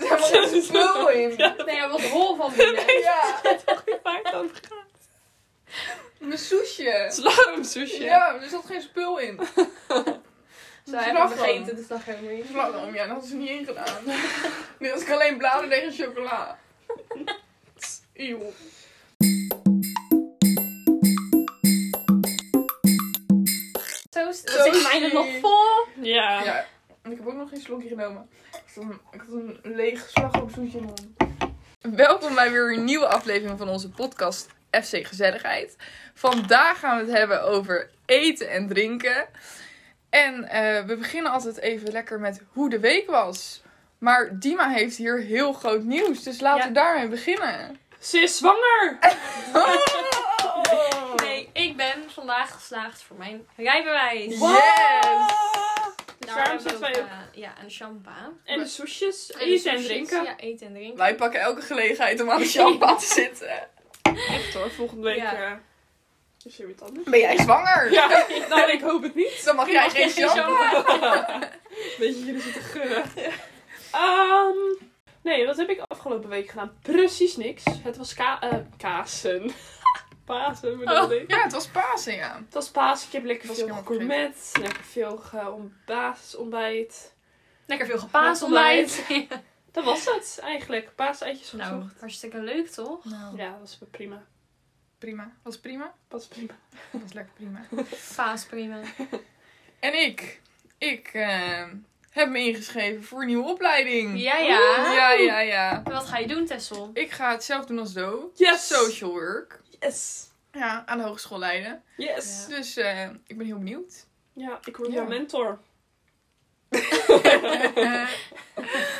dat is film. Ja, Nee, hij was hol van binnen. Ja, goed, waar het over gaat. mijn soesje. Slarmsoesje. Ja, er zat geen spul in. Ze hebben Slagroom. vergeten, dus dat gaan we niet. Slagroom, ja, dat had ze niet ingedaan. Nu was ik alleen bladerdeeg en chocola. Eeuw. Zo zit mijn er nog vol. Ja. Ja, en ik heb ook nog geen slokje genomen. Ik had een, ik had een leeg slagroomsoetje in mijn mond. Welkom bij weer een nieuwe aflevering van onze podcast FC Gezelligheid. Vandaag gaan we het hebben over eten en drinken. En eh, we beginnen altijd even lekker met hoe de week was. Maar Dima heeft hier heel groot nieuws, dus laten Ja. we daarmee beginnen. Ze is zwanger! Nee, ik ben vandaag geslaagd voor mijn rijbewijs. Wow. Daar Daarom hebben we zitten wij ook. eh, ja, een champa. En de soesjes, En eten en sushis. drinken. Ja, eten en drinken. Wij pakken elke gelegenheid om aan de champagne te zitten. Echt hoor, volgende week Ja. eh, is er weer wat anders. Ben jij zwanger? Ja, nou ik hoop het niet. Dan mag jij geen champagne. Beetje jullie zitten geuren. Ehm, nee, wat heb ik afgelopen week gedaan? Precies niks. Het was ka eh, Kasen. Pasen bedoel ik. Ja, het was Pasen, ja. Het was Pasen, ik heb lekker Oh. Was veel ik helemaal gourmet, lekker veel ge- om- basisontbijt. Lekker veel gepaasontbijt. Dat was het eigenlijk, paaseitjes nou, gezocht. hartstikke leuk toch? Ja, dat was prima. Prima. Was prima? Was prima. Dat was lekker prima. Paas prima. En ik? Ik eh, heb me ingeschreven voor een nieuwe opleiding. Ja, ja. Ja, ja, ja. En wat ga je doen, Tessel? Ik ga het zelf doen als Do. Yes! Social work. Yes! Ja, aan de hogeschool Leiden. Yes! Dus eh, ik ben heel benieuwd. Ja, ik word Ja. jouw mentor. Eh,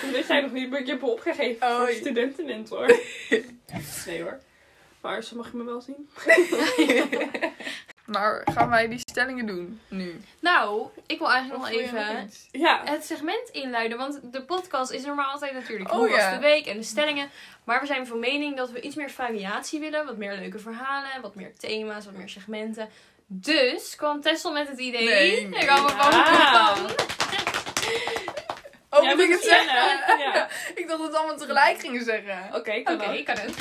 Dat weet jij nog niet, maar ik heb me opgegeven Oh, voor je- studentenmentor. nee hoor. Maar zo mag je me wel zien. maar gaan wij die stellingen doen nu? Nou, ik wil eigenlijk Of nog wil je nog even iets? Ja. het segment inluiden. Want de podcast is normaal altijd natuurlijk Oh, hoe was ja. de week en de stellingen. Maar we zijn van mening dat we iets meer variatie willen. Wat meer leuke verhalen, wat meer thema's, wat meer segmenten. Dus kwam Tessel met het idee. Nee, nee. Ah. Ik had Ja. van. Oh, Jij moet ik moet het het zeggen? stellen. Ja. Ik dacht dat we het allemaal tegelijk gingen zeggen. Oké, ik Oké, kan ook. ik kan het.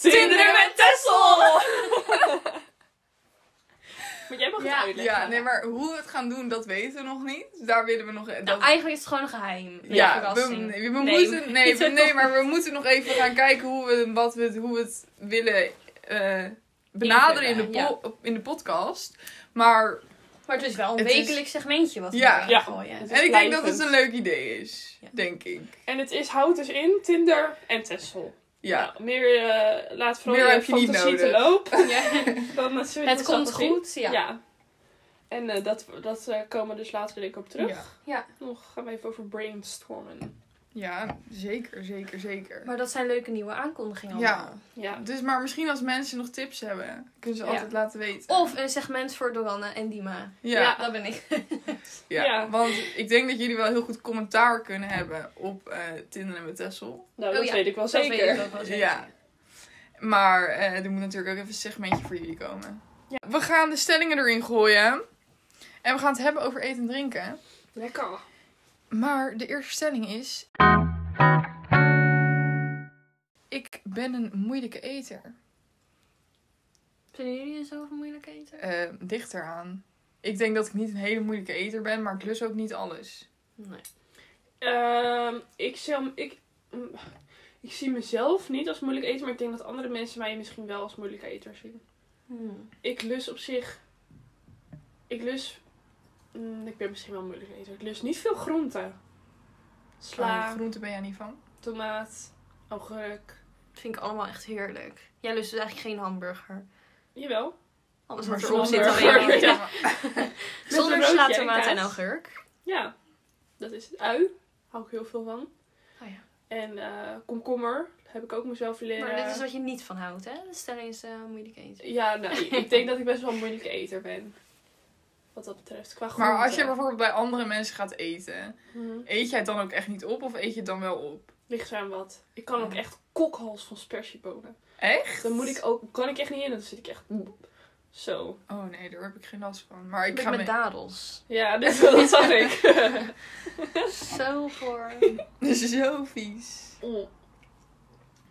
Tinderen met Tessel! maar jij mag Ja, het uitleggen. Ja, nee, maar hoe we het gaan doen, dat weten we nog niet. Daar willen we nog... Nou, dat- eigenlijk is het gewoon een geheim. Een Ja, we, verrassing. nee, we Nee, moeten, nee, niet we- zo nee, toch. maar we moeten nog even gaan kijken hoe we, wat we, hoe we het willen eh, benaderen in de, Invullen, po- in de podcast. Maar Maar het is wel een Het is- wekelijks segmentje wat we Ja. erin Ja. gooien. Het is en ik denk dat blijvend. het een leuk idee is, Ja. denk ik. En het is houd dus in, Tinder en Tessel. Ja, Nou, meer eh, laat vooral Meer je heb je niet fantasie te nodig. lopen. Ja. Dan, eh, zul je Het vanzelf komt zien. goed, ja. Ja. En eh, dat, dat eh, komen we dus later denk ik op terug. Ja. Ja. Nog gaan we even over brainstormen. ja zeker, zeker, zeker. Maar dat zijn leuke nieuwe aankondigingen Ja. allemaal. Ja. Dus maar misschien als mensen nog tips hebben, kunnen ze Ja. altijd laten weten. Of een segment voor Doranne en Dima. ja, ja. ja. Dat ben ik. Ja. want ik denk dat jullie wel heel goed commentaar kunnen hebben op eh Tinder en met Tessel. Nou, Oh dat ja, weet ik wel Dat weet ik zeker. ook wel zeker. Ja. Maar eh, er moet natuurlijk ook even een segmentje voor jullie komen. We gaan de stellingen erin gooien. En we gaan het hebben over eten en drinken. Lekker. Maar de eerste stelling is... Ik ben een moeilijke eter. Vinden jullie het zo moeilijk eten? Eh, dichter aan. Ik denk dat ik niet een hele moeilijke eter ben, maar ik lus ook niet alles. Nee. Ehm, ik, zel- ik, mm, ik zie mezelf niet als moeilijk eten, maar ik denk dat andere mensen mij misschien wel als moeilijke eter zien. Hmm. Ik lus op zich. Ik lus. mm, ik ben misschien wel een moeilijke eter. Ik lus niet veel groenten. Groente Oh, Sla, groenten ben jij niet van? tomaat, augurk. Dat vind ik allemaal echt heerlijk. Jij lust dus eigenlijk geen hamburger. Jawel. Alles Maar wat erop zit zonder alleen maar. hamburger. Ja. Zonder Met een sla, broodje en tomaat en kaas. augurk. Ja, dat is het. Ui, hou ik heel veel van. Oh ja. En eh, komkommer, heb ik ook mezelf leren. Maar dit is wat je niet van houdt, hè? De stelling is eh, moeilijk eten. Ja, nou, ik- ik denk dat ik best wel een moeilijke eter ben. Wat dat betreft. Qua Maar als je groenten. bijvoorbeeld bij andere mensen gaat eten, Mhm. eet jij het dan ook echt niet op of eet je het dan wel op? Ligt eraan wat. Ik kan ook echt kokhals van spersiebonen. Echt? Dan moet ik ook, kan ik echt niet in. Dan zit ik echt... Zo. Oh nee, daar heb ik geen last van. Maar ik Ik ga met me... dadels. Ja, dit, dat zag ik. Zo voor. Zo vies. Mm.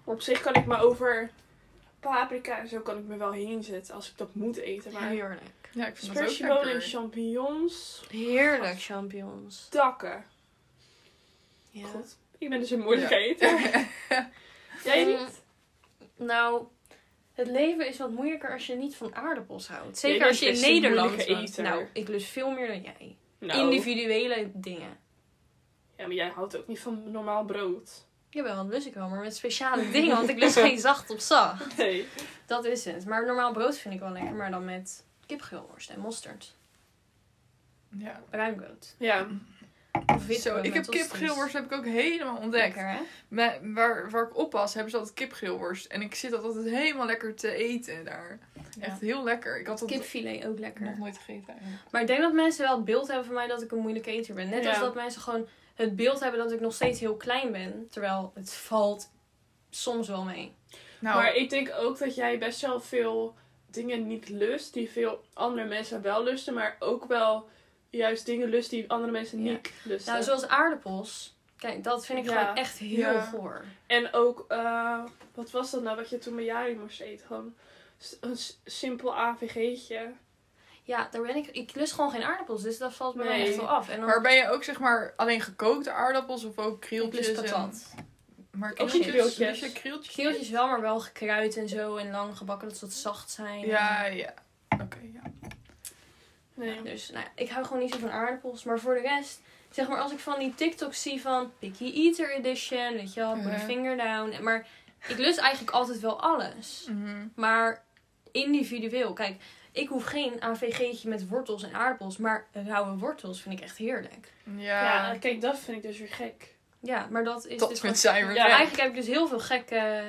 Op zich kan ik me over paprika en zo kan ik me wel heen zetten als ik dat moet eten. Maar Heerlijk. Ja, ik vind dat ook spersiebonen en lekker. champignons. Heerlijk, champignons. Dakken. Ja. God. Ik ben dus een moeilijke Ja. eter. Jij Mm. niet? Nou, het leven is wat moeilijker als je niet van aardappels houdt. Jij Zeker bent als je in best een Nederland moeilijke woont. eter. Nou, ik lust veel meer dan jij. Nou. Individuele dingen. Ja, maar jij houdt ook niet van normaal brood. Jawel, dat lust ik wel, maar met speciale dingen. Want ik lust geen zacht op zacht. Nee. Dat is het. Maar normaal brood vind ik wel lekker. Maar dan met kipgeelworst en mosterd. Ja. Bruin brood. Ja. Of witte Zo, brood ik met heb tosta's. kipgeelworst heb ik ook helemaal ontdekt. Lekker, hè? Maar waar, waar ik oppas, hebben ze altijd kipgeelworst. En ik zit dat altijd helemaal lekker te eten daar. Echt heel lekker. Ik had dat Kipfilet ook lekker. nog nooit gegeten eigenlijk. Maar ik denk dat mensen wel het beeld hebben van mij dat ik een moeilijke eter ben. Net Ja. als dat mensen gewoon het beeld hebben dat ik nog steeds heel klein ben. Terwijl het valt soms wel mee. Nou, Maar ik denk ook dat jij best wel veel dingen niet lust die veel andere mensen wel lusten, maar ook wel juist dingen lust die andere mensen Ja. niet lusten. Nou, zoals aardappels. Kijk, dat vind ik Ja. gewoon echt heel Ja. goor. En ook, eh, wat was dat nou wat je toen bij Jari moest eten? Gewoon s- een s- simpel AVG'tje. Ja, daar ben ik. Ik lust gewoon geen aardappels, dus dat valt bij mij Nee. echt wel af. En dan maar ben je ook zeg maar alleen gekookte aardappels of ook ik krieltjes? lust en- patat. Maar Ook krieltjes? krieltjes. lust je krieltjes? Geeltjes wel, maar wel gekruid en zo en lang gebakken, dat ze wat zacht zijn. Ja, ja. Oké, ja. Nee. Dus nou, ja, ik hou gewoon niet zo van aardappels. Maar voor de rest, zeg maar als ik van die TikToks zie van Picky Eater Edition, weet je wel, put a Mhm. finger down. Maar ik lust eigenlijk altijd wel alles. Mhm. Maar individueel. Kijk, ik hoef geen AVG'tje met wortels en aardappels. Maar rauwe wortels vind ik echt heerlijk. Ja. Ja, kijk, dat vind ik dus weer gek. Ja, maar dat is Dat vindt dus gewoon- zij weer Ja, gek. eigenlijk heb ik dus heel veel gekke...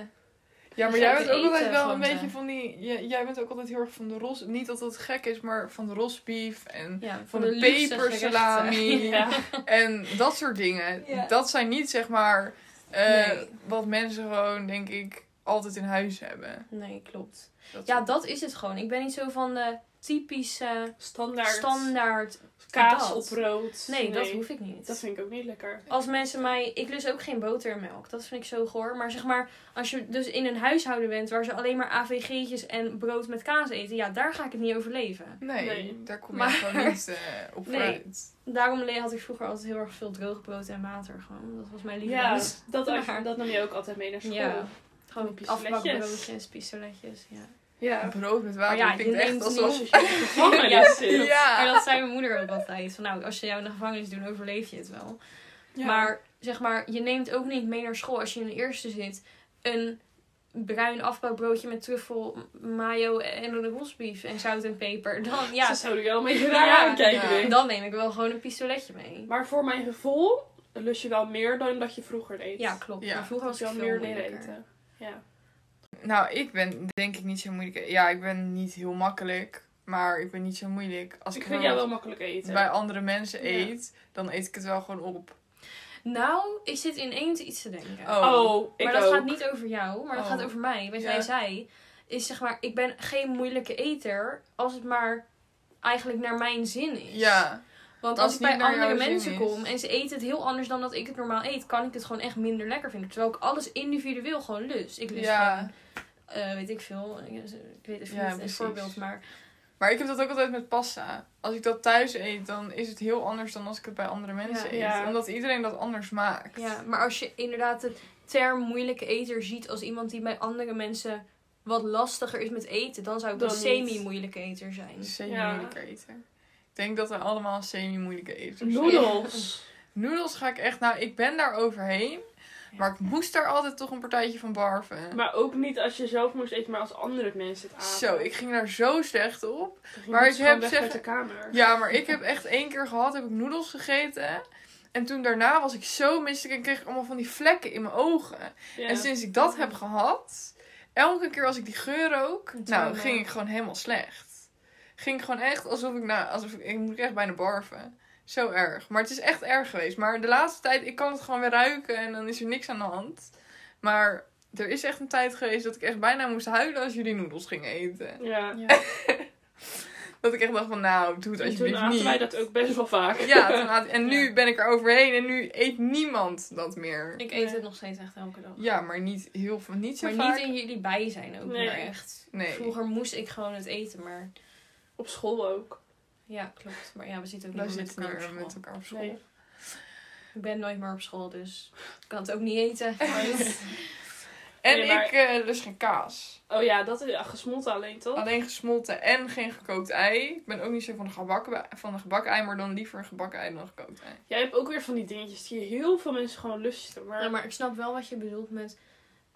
Ja, maar Ga jij ik bent het ook altijd eten wel van een ze? beetje van die... Jij, jij bent ook altijd heel erg van de ros... Niet dat dat gek is, maar van de rosbief en Ja, van de de luxe pepersalami. gerechten. Ja. en dat soort dingen. Ja. Dat zijn niet, zeg maar, eh, Nee. wat mensen gewoon, denk ik, altijd in huis hebben. Nee, klopt. Dat Ja, soort- dat is het gewoon. Ik ben niet zo van de typische Standaard. standaard... kaas dat. op brood. Nee, dat hoef ik niet. Dat vind ik ook niet lekker. Als mensen mij... Ik lust ook geen boter en melk. Dat vind ik zo goor. Maar zeg maar, als je dus in een huishouden bent waar ze alleen maar AVG'tjes en brood met kaas eten. Ja, daar ga ik het niet overleven. Nee, Nee. daar kom je Maar- gewoon niet eh, op Nee. uit. Daarom le- had ik vroeger altijd heel erg veel droog brood en water. Gewoon. Dat was mijn Ja, lievelingsding. dat, als- Maar- dat nam je ook altijd mee naar school. Ja. Ja. Gewoon Pistoletjes. afbakbroodjes, pistoletjes. Ja. Brood met water Maar ja, klinkt je echt neemt alsof... Als je in de gevangenis zit. Maar Ja. dat zei mijn moeder ook altijd. Van, nou, als je jou in de gevangenis doet, overleef je het wel. Ja. Maar zeg maar, je neemt ook niet mee naar school als je in de eerste zit. Een bruin afbouwbroodje met truffel, mayo en een rosbief en zout en peper. Dan, ja, Ze zouden je wel een beetje raar Ja. aankijken. Ja. denk ik. dan neem ik wel gewoon een pistoletje mee. Maar voor mijn gevoel lust je wel meer dan dat je vroeger deed. Ja, klopt. Ja. Maar vroeger was Als je ik wel veel meer leren moeilijker. eten. Ja. Nou, ik ben denk ik niet zo moeilijk. Ja, ik ben niet heel makkelijk, maar ik ben niet zo moeilijk. Als Dus ik, ik vind jou wel bijvoorbeeld makkelijk eten. bij andere mensen Ja. eet, dan eet ik het wel gewoon op. Nou, ik zit ineens iets te denken. Oh. Oh, ik maar dat ook. gaat niet over jou, maar dat Oh. gaat over mij. Wat Ja. jij zei, is zeg maar, ik ben geen moeilijke eter als het maar eigenlijk naar mijn zin is. Ja, Want als als, het ik bij niet naar andere jouw mensen zin is. kom en ze eten het heel anders dan dat ik het normaal eet, kan ik het gewoon echt minder lekker vinden. Terwijl ik alles individueel gewoon lust. Ik lust ja. gewoon, eh, weet ik veel, ik ik weet even Ja, niet een precies. voorbeeld, maar Maar ik heb dat ook altijd met pasta. Als ik dat thuis eet, dan is het heel anders dan als ik het bij andere mensen Ja. eet. Ja. Omdat iedereen dat anders maakt. Ja, maar als je inderdaad de term moeilijke eter ziet als iemand die bij andere mensen wat lastiger is met eten, dan zou ik Dan een niet. semi-moeilijke eter zijn. Semi-moeilijke Dus eten. Ik denk dat we allemaal semi-moeilijke eten Noedels. Noedels ga ik echt... Nou, ik ben daar overheen. Maar ik moest daar altijd toch een partijtje van barven. Maar ook niet als je zelf moest eten, maar als andere mensen het aten. Zo, ik ging daar zo slecht op. maar maar ik ik heb heb weg zeg- uit de kamer. Ja, maar ik heb echt één keer gehad, heb ik noedels gegeten. En toen daarna was ik zo misselijk en kreeg ik allemaal van die vlekken in mijn ogen. Ja. En sinds ik dat heb gehad, elke keer als ik die geur rook, Een nou, trauma. ging ik gewoon helemaal slecht. Ging ik gewoon echt alsof ik, nou, alsof ik, ik moet echt bijna barven. Zo erg. Maar het is echt erg geweest. Maar de laatste tijd, ik kan het gewoon weer ruiken en dan is er niks aan de hand. Maar er is echt een tijd geweest dat ik echt bijna moest huilen als jullie noedels gingen eten. Ja. Ja. Dat ik echt dacht van, nou, doe het En toen alsjeblieft aten niet. wij dat ook best wel vaak. Ja, toen had- en nu Ja. ben ik er overheen en nu eet niemand dat meer. Ik eet Nee. het nog steeds echt elke dag. Ja, maar niet heel veel, niet zo maar vaak. niet in jullie bijzijn ook Nee. meer echt. Nee. Vroeger moest ik gewoon het eten, maar Op school ook. ja, klopt. Maar ja, we zitten ook Daar niet meer zitten met elkaar we op met school. elkaar op school. Nee. Ik ben nooit meer op school, dus ik kan het ook niet eten. Maar En Nee, maar- ik eh lust geen kaas. Oh ja, dat is ja, gesmolten alleen toch? Alleen gesmolten en geen gekookt ei. Ik ben ook niet zo van een gebakken, van een gebakken ei, maar dan liever een gebakken ei dan een gekookt ei. Jij hebt ook weer van die dingetjes die heel veel mensen gewoon lusten. Maar, Ja, maar ik snap wel wat je bedoelt met...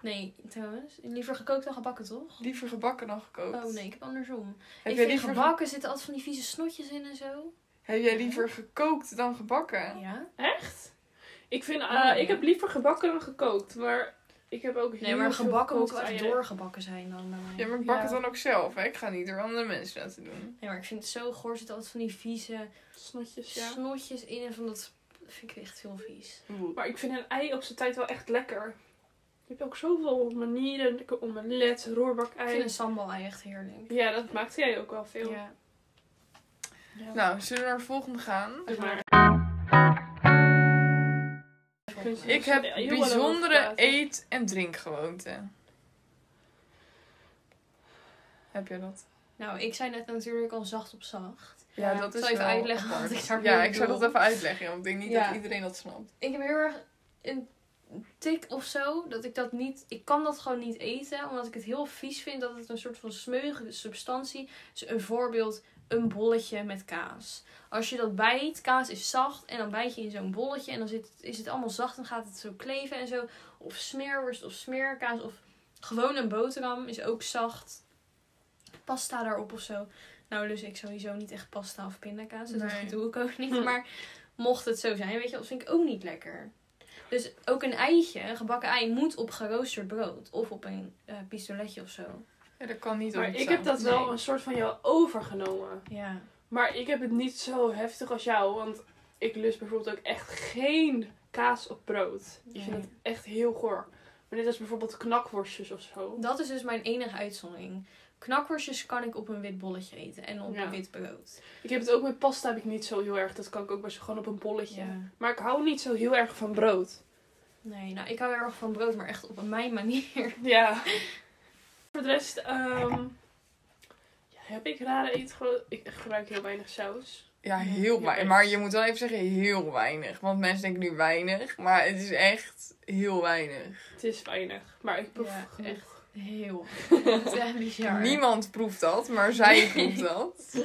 Nee, trouwens. Liever gekookt dan gebakken, toch? Liever gebakken dan gekookt. Oh nee, ik heb andersom. Heb ik jij vind liever, gebakken zitten altijd van die vieze snotjes in en zo. heb jij liever gekookt dan gebakken? Ja. Echt? Ik, vind, eh, Oh, nee. ik heb liever gebakken dan gekookt. Maar ik heb ook heel Nee, maar veel gebakken moet wel gekookt echt eieren. doorgebakken zijn dan eh. bij mij. Ja, maar ik bak Ja. het dan ook zelf. Hè? Ik ga niet door andere mensen laten doen. Nee, maar ik vind het zo goor zitten altijd van die vieze Snotjes, ja. snotjes in en van dat... Vind ik echt heel vies. Maar ik vind een ei op zijn tijd wel echt lekker. Je hebt ook zoveel manieren. Ik heb omelet, Ik vind roerbak-ei. een sambal-ei echt heerlijk. Ja, dat maakte jij ook wel veel. Ja. Nou, zullen we naar de volgende gaan? Zeg maar. Ik heb bijzondere eet- en drinkgewoonten. Heb jij dat? Nou, ik zei net natuurlijk al zacht op zacht. Ja, Ja, dat ik is zal even wel uitleggen wat apart. ik daarmee Ja, ik zou dat bedoel. even uitleggen, want ik denk niet Ja. dat iedereen dat snapt. Ik heb heel erg een tik of zo dat ik dat niet. Ik kan dat gewoon niet eten, omdat ik het heel vies vind dat het een soort van smeuige substantie is. Een voorbeeld: een bolletje met kaas. Als je dat bijt, kaas is zacht en dan bijt je in zo'n bolletje en dan zit, is het allemaal zacht en gaat het zo kleven en zo. Of smeerworst of smeerkaas of gewoon een boterham is ook zacht. Pasta daarop of zo. Nou, dus ik sowieso niet echt pasta of pindakaas. Dus Nee. Dat doe ik ook niet. Maar mocht het zo zijn, weet je, dat vind ik ook niet lekker. Dus ook een eitje, een gebakken ei, moet op geroosterd brood. Of op een eh, pistoletje of zo. Ja, dat kan niet Maar op ik heb dat Nee. wel een soort van jou overgenomen. Ja. Maar ik heb het niet zo heftig als jou. Want ik lust bijvoorbeeld ook echt geen kaas op brood. Ik vind Nee. het echt heel goor. Maar net als bijvoorbeeld knakworstjes of zo. Dat is dus mijn enige uitzondering. Knakworstjes kan ik op een wit bolletje eten en op Ja. een wit brood. Ik heb het ook met pasta heb ik niet zo heel erg. Dat kan ik ook best gewoon op een bolletje. Ja. Maar ik hou niet zo heel erg van brood. Nee, nou, ik hou heel erg van brood, maar echt op mijn manier. Ja. Voor de rest ehm, ja, heb ik rare eetgewoonten. Ik gebruik heel weinig saus. Ja, heel Ja, weinig. oké. Maar je moet wel even zeggen heel weinig. Want mensen denken nu weinig, maar het is echt heel weinig. Het is weinig. Maar ik proef Ja, genoeg. echt. Heel. Het is echt bizar. Niemand proeft dat, maar zij proeft dat.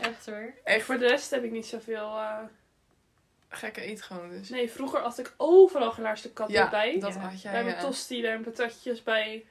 Echt hoor. Echt, voor de rest heb ik niet zoveel... eh, Gekke eetgewoontes. Nee, vroeger had ik overal gelaarste kat Ja, bij. dat Ja. had bij jij. mijn ja. tosti en patatjes bij.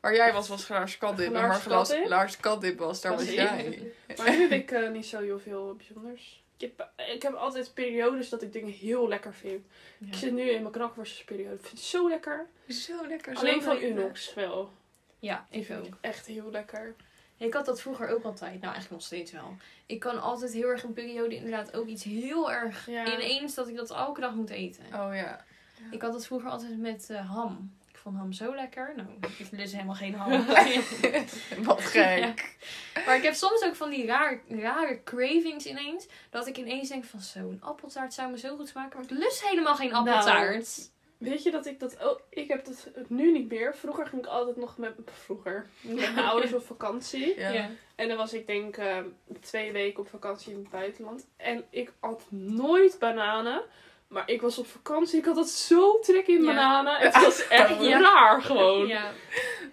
Waar jij was, was Laars Katdip. En waar Gelaars Gelaars Katdip? Laars Katdip was, daar Was was ik. jij. Maar nu heb ik eh, niet zo heel veel bijzonders. Ik heb, eh, ik heb altijd periodes dat ik dingen heel lekker vind. Ik Ja. zit nu in mijn knakworstjesperiode. Ik vind het zo lekker. Zo lekker. zo Alleen van lekker. Unox wel. ja, Die ik vind ook. ik echt heel lekker. Ik had dat vroeger ook altijd. Nou, eigenlijk nog steeds wel. Ik kan altijd heel erg een periode inderdaad ook iets heel erg Ja. ineens dat ik dat elke dag moet eten. Oh ja. Ik had dat vroeger altijd met eh, ham. Ik vond ham zo lekker. Nou, ik lust helemaal geen ham. Wat gek. Ja. Maar ik heb soms ook van die raar, rare cravings ineens. Dat ik ineens denk van zo, een appeltaart zou me zo goed smaken. Maar ik lust helemaal geen Nou. appeltaart. Weet je dat ik dat ook... Ik heb dat nu niet meer. Vroeger ging ik altijd nog met... Vroeger. Met mijn ouders op vakantie. Ja. Ja. En dan was ik denk eh, twee weken op vakantie in het buitenland. En ik at nooit bananen. Maar ik was op vakantie. Ik had dat zo trek in Ja. bananen. Het was echt Ja. raar gewoon. Ja. Ja,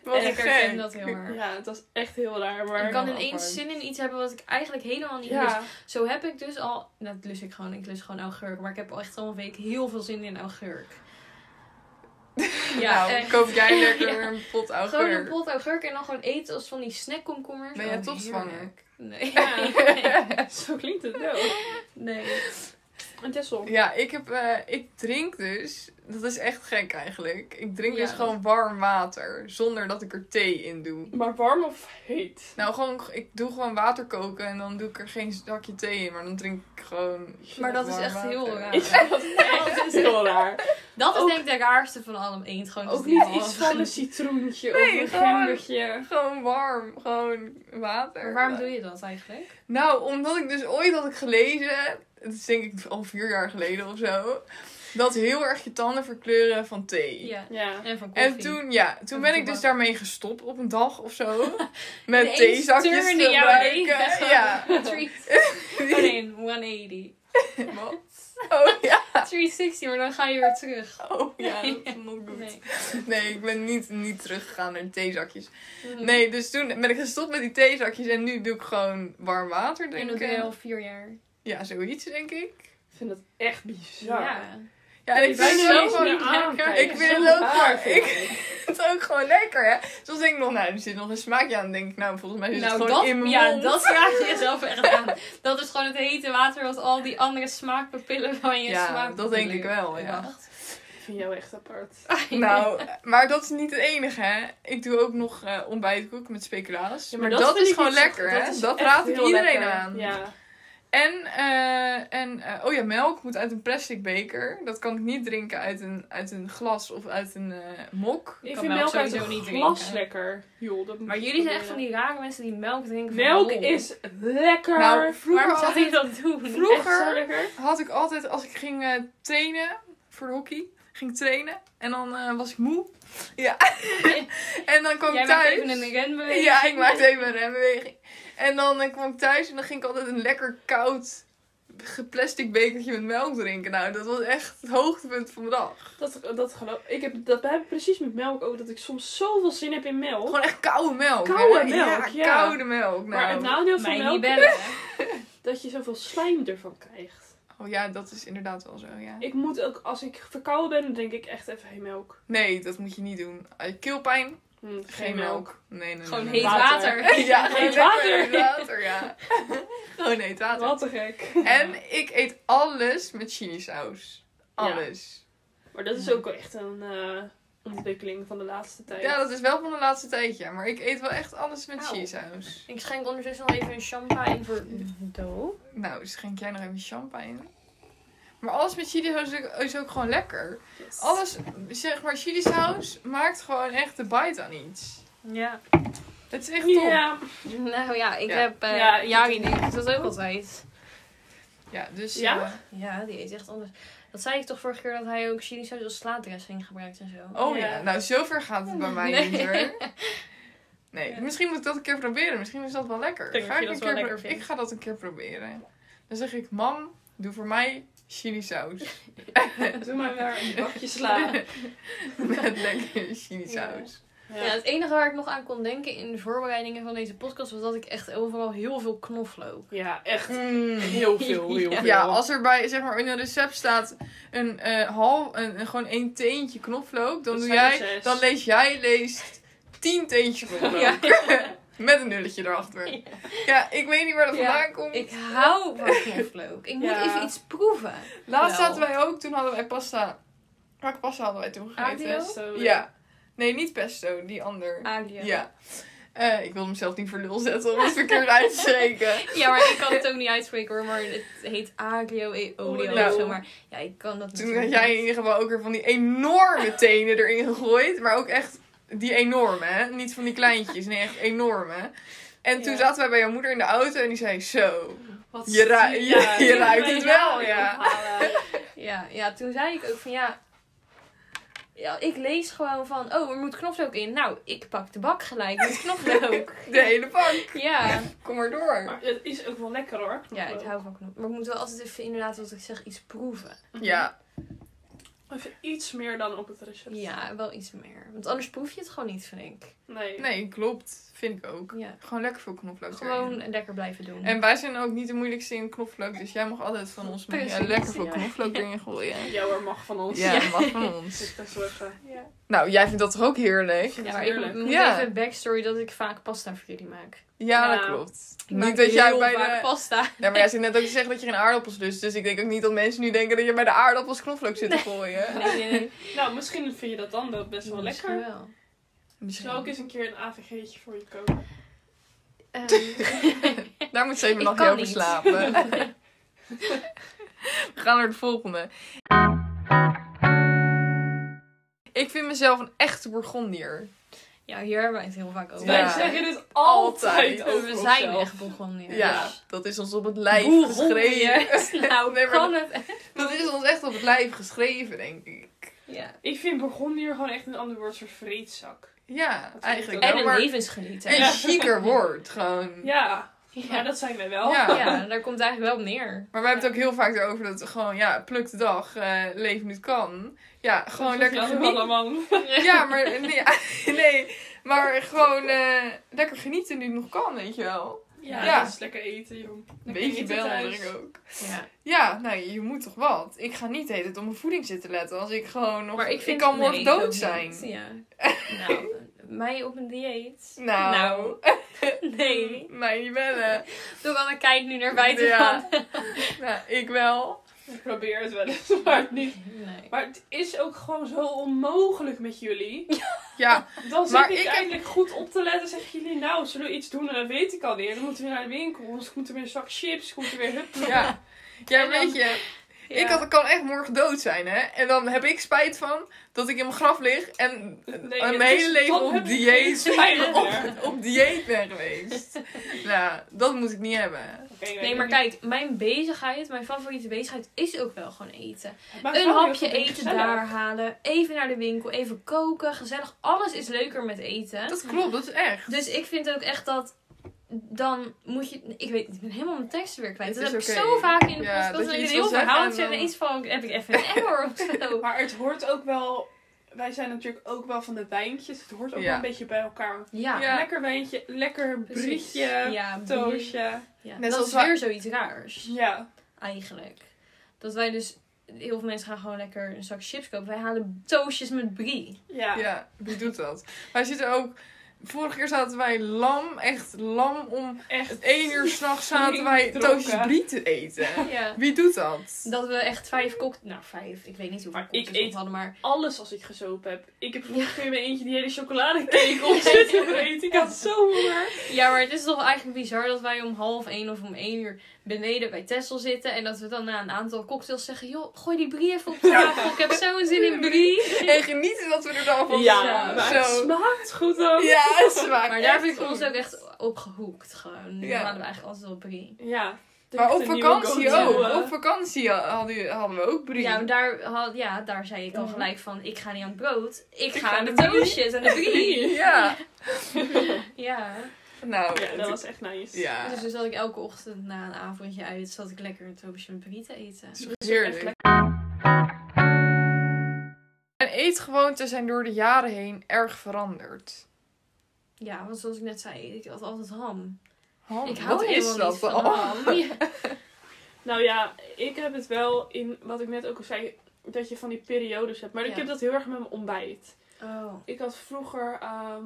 Wat ik gek. herken dat heel erg. het was echt heel raar. Maar Ik kan wel ineens apart. zin in iets hebben wat ik eigenlijk helemaal niet lust. ja, Zo heb ik dus al... Nou, dat lust ik gewoon. Ik lust gewoon augurk. Maar ik heb al echt al een week heel veel zin in augurk. Ja, nou, echt. koop jij lekker een pot Gewoon een augurk. pot augurk en dan gewoon eten als van die snackkomkommers. Ben jij Oh, toch heerlijk. zwanger? Nee. Ja. nee. zo klinkt het wel. Nee. En Tessel. Ja, ik, heb, eh, ik drink dus, dat is echt gek eigenlijk. Ik drink Ja, dus dat- gewoon warm water, zonder dat ik er thee in doe. Maar warm of heet? Nou, gewoon, ik doe gewoon water koken en dan doe ik er geen zakje thee in, maar dan drink ik gewoon. Maar dat is warm echt water. heel raar. Is dat echt heel raar. Dat is Ook- denk ik de raarste van allemaal eend. Gewoon dat Ook het niet warm iets is. van een citroentje Nee, of een gewoon- gembertje. Gewoon warm, gewoon water. Maar waarom doe je dat eigenlijk? Nou, omdat ik dus ooit had ik gelezen, het is denk ik al vier jaar geleden of zo, dat heel erg je tanden verkleuren van thee. Ja. Ja. En van koffie. En toen, ja, toen Of ben ik tobak. dus daarmee gestopt op een dag of zo. Met Ineens theezakjes turnen te jouw gebruiken. leven. Ja. 3 Oh nee, 180. Wat? Oh ja. 360, maar dan ga je weer terug. Oh ja, dat is not good. Nee. Nee, ik ben niet, niet teruggegaan naar theezakjes. Nee, dus toen ben ik gestopt met die theezakjes en nu doe ik gewoon warm water En dat doe je al drinken. vier jaar. Ja, zoiets denk ik. Ik vind dat echt bizar. Ja, en ik Ik vind ben het ook zo gewoon... meer aankijken. Ik vind Zo het ook raar, gewoon- vind ik- Het is ook gewoon lekker, hè? Soms denk ik nog, nou, er zit nog een smaakje aan. Dan denk ik, nou, volgens mij zit het Nou, gewoon dat, in mijn ja, mond. dat raad je jezelf echt aan. Dat is gewoon het hete water wat al die andere smaakpapillen van je Ja, smaak. dat denk ik wel, ja. Wacht. Ik vind jou echt apart. Nou, maar dat is niet het enige, hè? Ik doe ook nog eh ontbijtkoek met speculaas. Ja, maar, dat dat, vind is ik gewoon niet zo- lekker, hè? dat Dat, is echt raad ik heel iedereen lekker. aan. Ja. En, eh, en eh, oh ja, melk moet uit een plastic beker. Dat kan ik niet drinken uit een, uit een glas of uit een eh, mok. Ik kan vind melk melk uit sowieso een niet glas drinken. lekker. Joh, dat moet Maar je jullie zijn echt van proberen. die rare mensen die melk drinken. van Melk lol. is lekker. Nou, vroeger, Waarom zou je altijd- dat doen? vroeger- Echt zo lekker. had ik altijd, als ik ging eh, trainen voor de hockey, ging trainen en dan eh, was ik moe. Ja. en dan kwam Jij ik maakt thuis. even een renbeweging. Ja, ik maakte even een rembeweging. En dan eh, kwam ik thuis en dan ging ik altijd een lekker koud ge- plastic bekertje met melk drinken. Nou, dat was echt het hoogtepunt van mijn dag. Dat, dat geloof ik. Heb, dat heb ik precies met melk ook. Dat ik soms zoveel zin heb in melk. Gewoon echt koude melk. hè? Oh. Koude melk, ja. Koude melk. Maar Nou. het nadeel van Mij melk niet bellen. is dat je zoveel slijm ervan krijgt. Oh ja, dat is inderdaad wel zo, ja. Ik moet ook, als ik verkouden ben, dan denk ik echt even geen melk. Nee, dat moet je niet doen. Eh, Keelpijn, geen, Hm, geen, melk. Nee, nee, nee, Gewoon nee. heet Water. water. Ja, Heet lekker water. Water, ja. Gewoon heet water. Wat te gek. En ik eet alles met chilisaus. Alles. Maar dat is ook wel echt een eh, ontwikkeling van de laatste Ja. tijd. dat is wel van de laatste tijd, ja. Maar ik eet wel echt alles met Auw. chilisaus. Ik schenk ondertussen al even een champagne voor Do. Nou, schenk jij nog even champagne? Maar alles met chilisaus is ook- is ook gewoon lekker. Alles, zeg maar, chilisaus maakt gewoon echt de bite aan iets. Ja. Het is echt top. Ja. Nou ja, ik Ja. heb eh Ja, ik- Jari die doet dat ook altijd. Ja, dus... Ja? eh, Ja, die eet echt anders. Dat zei ik toch vorige keer dat hij ook chilisaus als slaatdressing gebruikt en zo. Oh ja. Ja. nou zover gaat het bij mij Nee. niet hoor. Nee, Ja. misschien moet ik dat een keer proberen. Misschien is dat wel lekker. Ik denk Ga dat je ik, dat een wel keer lekker ik vindt. ga dat een keer proberen. Dan zeg ik, mam, doe voor mij chilisaus. Doe maar weer een bakje sla. Met lekker chilisaus. Ja. Ja. het enige waar ik nog aan kon denken in de voorbereidingen van deze podcast was dat ik echt overal heel veel knoflook. Ja, echt Mm. heel veel, heel Ja. veel. Ja, als er bij, zeg maar, in een recept staat een eh half, een, een- gewoon één teentje knoflook, dan, Dat doe zijn jij, er zes. dan lees jij leest tien teentjes knoflook. Ja. Met een nulletje erachter. Ja. ik weet niet waar dat Ja, vandaan komt. Ik hou van knoflook. Ik moet Ja. even iets proeven. Laatst Wel. zaten wij ook, toen hadden wij pasta. Welke pasta hadden wij toen gegeten? Aglio? Pesto. Ja. Nee, niet pesto, die ander. Aglio. Ja. Eh, ik wilde mezelf niet voor lul zetten om het verkeerd uit te spreken. Ja, maar ik kan het ook niet uitspreken hoor, maar het heet aglio e olio Olio. of zo, maar ja, ik kan dat Toen had natuurlijk jij in niet. ieder geval ook weer van die enorme tenen erin gegooid. Maar ook echt die enorme, hè? Niet van die kleintjes. Nee, echt enorme. En toen Ja. zaten wij bij jouw moeder in de auto en die zei zo. Wat Je, ra- zie- je, je Ja. ruikt het wel, ja. Ja, ja, toen zei ik ook van ja. Ja, ik lees gewoon van, oh, er moet knoflook in. Nou, ik pak de bak gelijk met knoflook. De hele bank. ja. Kom maar door. Maar het is ook wel lekker hoor. ja, ik hou van knoflook. Maar ik moet wel altijd even, inderdaad, wat ik zeg, iets proeven. Ja, Mhm. Even iets meer dan op het recept. Ja, wel iets meer. Want anders proef je het gewoon niet, vind ik. Nee. nee, klopt. Vind ik ook. Ja. Gewoon lekker veel knoflook erin. Gewoon lekker blijven doen. En wij zijn ook niet de moeilijkste in knoflook, dus jij mag altijd van ons Precies, ja, lekker veel ja. knoflook erin gooien. Jouw er mag van ons. Ja, Ja. mag van ons. Ik ga zorgen. Ja. Nou, jij vindt dat toch ook heerlijk? Ja, maar ik heerlijk. moet Ja. even een backstory dat ik vaak pasta voor jullie maak. Ja, Ja. dat klopt. Nou, Ik maak Niet dat jij heel bij vaak de... pasta. Ja, maar jij zit net ook te zeggen dat je geen aardappels lust. Dus ik denk ook niet dat mensen nu denken dat je bij de aardappels knoflook zit te gooien. Nee, nee, nee. Nou, misschien vind je dat dan wel best wel Misschien lekker. wel. Zal ik eens een keer een AVG'tje voor je kopen? Ehm, Daar moet ze even Ik nog kan over niet. slapen. We gaan naar de volgende. Ik vind mezelf een echte Bourgondier. ja, hier hebben wij het heel vaak over. Wij Ja. zeggen dit altijd. Altijd. over We zijn onszelf. echt begonnen. Ja, ja. dat is ons op het lijf Bourgondier. geschreven. Nou, Nee, maar kan het. Dat is ons echt op het lijf geschreven, denk ik. Ja. Ik vind Burgondier gewoon echt een ander woord voor vreedzak. Ja, Dat eigenlijk vind En ik wel. een Maar levensgenieter. een chiquer woord, gewoon. Ja, Ja. maar dat zijn wij wel. Mm. Ja. Ja, daar komt het eigenlijk wel op neer. Maar wij hebben het ook heel vaak erover dat we gewoon, ja, pluk de dag, eh, leven nu kan. Ja, gewoon lekker genieten. allemaal. Ja, maar nee, nee maar gewoon eh, lekker genieten nu het nog kan, weet je wel. Ja, Ja. dat is lekker eten, jong. Een Lekker beetje eten wel, thuis. denk ik ook. Ja. Ja, nou, je moet toch wat. Ik ga niet de hele tijd op mijn voeding zitten letten als ik gewoon nog... Maar ik, vind, kan nee, morgen ik ook dood niet. zijn. Ja. Nou, mij op een dieet? Nou, nee. mij niet bellen. Doe wel een kijk nu naar buiten Ja. van. nou, ik wel. Ik probeer het wel eens, maar het niet. Nee. Maar het is ook gewoon zo onmogelijk met jullie. Ja, Dan zit Maar ik, ik heb- eindelijk goed op te letten. Zeggen jullie, nou, zullen we iets doen? En dat weet ik alweer. Dan moeten we naar de winkel. Anders komt er weer een zak chips. Komt er weer hup. ja. Ja, En dan- weet je... Ja. Ik had, ik kan echt morgen dood zijn, hè? En dan heb ik spijt van dat ik in mijn graf lig en eh, Nee, mijn het hele is- leven dan op heb ik dieet, geen spijt op, meer. op dieet ben geweest. nou, dat moet ik niet hebben. Oké, ik Nee, maar weet kijk, mijn bezigheid, mijn favoriete bezigheid is ook wel gewoon eten. niet. Het Oh, maakt Een wel heel hapje veel eten gezellig. daar halen, even naar de winkel, even koken, gezellig. Alles is leuker met eten. Dat klopt, dat is echt. Dus ik vind ook echt dat dan moet je. Ik weet, ik ben helemaal mijn teksten weer kwijt. Het Dat is heb ik oké. zo vaak in de Ja, podcast. dat je Dat ik een iets heel wil verhaal zeggen aan het zeggen en en ineens val ik, heb ik even een error of zo. Maar het hoort ook wel... Wij zijn natuurlijk ook wel van de wijntjes. Het hoort ook Ja. wel een beetje bij elkaar. Ja, Ja. Lekker wijntje. Lekker precies. briefje. ja, brie. Toosje. Ja, Net dat zoals is wij- weer zoiets raars. Ja. Eigenlijk. Dat wij dus. Heel veel mensen gaan gewoon lekker een zak chips kopen. Wij halen toastjes met brie. Ja. Ja, wie doet dat? Wij zitten ook... Vorige keer zaten wij lam, echt lam om Echt. 1 uur s'nachts zaten Flink wij dronken. toosjes brie te eten. Ja. Wie doet dat? Dat we echt vijf kok... Nou, vijf. Ik weet niet hoeveel Maar ik cocktails we eet- hadden, maar... alles als ik gezopen heb. Ik heb vroeger keer in mijn eentje die hele chocoladecake op zitten vreten. Ik had zo honger. Ja, maar het is toch eigenlijk bizar dat wij om half één of om één uur beneden bij Tessel zitten. En dat we dan na een aantal cocktails zeggen... Joh, gooi die brie even op de tafel. Ik heb zo'n zin in brie. En genieten dat we er dan van Ja, maar zo. het smaakt goed ook. Ja, het smaakt Maar daar echt heb ik ons goed. ook echt op gehoekt. Gewoon. Nu Ja. hadden we eigenlijk altijd wel brie. Ja. Maar op Echt een vakantie nieuwe ook. go-to, hè? Op vakantie hadden, hadden we ook brie. eh. Ja, maar daar, had, ja, daar zei ik al Mhm. gelijk van... Ik ga niet aan het brood. Ik, Ik ga ga aan de de brie. toastjes en de brie. Ja. Ja. Nou, Ja, dat was echt nice. ja. Dus, dus zat ik elke ochtend na een avondje uit, zat ik lekker een toosje en brie te eten. Het is heerlijk. En eetgewoonten zijn door de jaren heen erg veranderd. Ja, want zoals ik net zei, ik had altijd ham. Ham, ik hou wat helemaal is dat? niet van Oh. ham. Ja. Nou ja, ik heb het wel in wat ik net ook al zei. Dat je van die periodes hebt. Maar ik Ja. heb dat heel erg met mijn ontbijt. Oh. Ik had vroeger ehm,